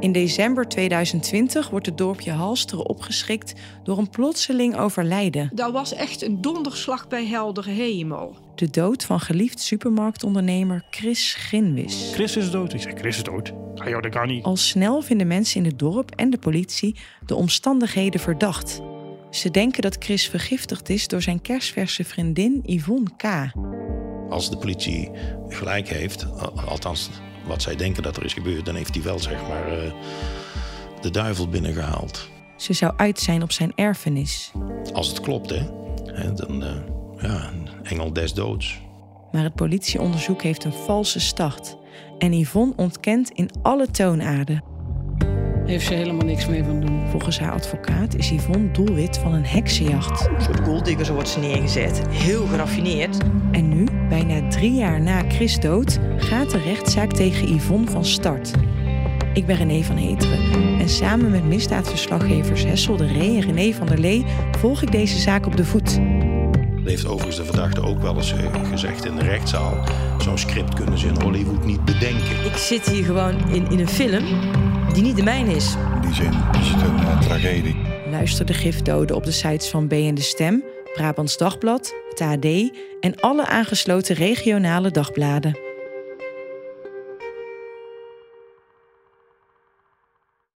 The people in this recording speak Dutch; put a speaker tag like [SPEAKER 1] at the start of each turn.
[SPEAKER 1] In december 2020 wordt het dorpje Halsteren opgeschrikt door een plotseling overlijden.
[SPEAKER 2] Dat was echt een donderslag bij heldere hemel.
[SPEAKER 1] De dood van geliefd supermarktondernemer Chris Ginwis.
[SPEAKER 3] Chris is dood. Ik zeg, Chris is dood. Ah joh, dat kan niet.
[SPEAKER 1] Al snel vinden mensen in het dorp en de politie de omstandigheden verdacht. Ze denken dat Chris vergiftigd is door zijn kerstverse vriendin Yvonne K.
[SPEAKER 4] Als de politie gelijk heeft, al- althans wat zij denken dat er is gebeurd, dan heeft hij wel zeg maar eh, de duivel binnengehaald.
[SPEAKER 1] Ze zou uit zijn op zijn erfenis.
[SPEAKER 4] Als het klopt, hè, hè dan eh, ja, een engel des doods.
[SPEAKER 1] Maar het politieonderzoek heeft een valse start. En Yvonne ontkent in alle toonaarden.
[SPEAKER 5] Heeft ze helemaal niks mee van doen.
[SPEAKER 1] Volgens haar advocaat is Yvonne doelwit van een heksenjacht.
[SPEAKER 6] Een soort golddigger wordt ze neergezet. Heel geraffineerd.
[SPEAKER 1] En nu, bijna drie jaar na Chris dood, gaat de rechtszaak tegen Yvonne van start. Ik ben René van Heteren en samen met misdaadverslaggevers Hessel de Ree en René van der Lee volg ik deze zaak op de voet.
[SPEAKER 4] Dat heeft overigens de verdachte ook wel eens eh, gezegd in de rechtszaal. Zo'n script kunnen ze in Hollywood niet bedenken.
[SPEAKER 6] Ik zit hier gewoon in, in een film die niet de mijne is.
[SPEAKER 7] In die zin is het een eh, tragedie.
[SPEAKER 1] Luister de gifdoden op de sites van B en de Stem, Brabants Dagblad, het AD en alle aangesloten regionale dagbladen.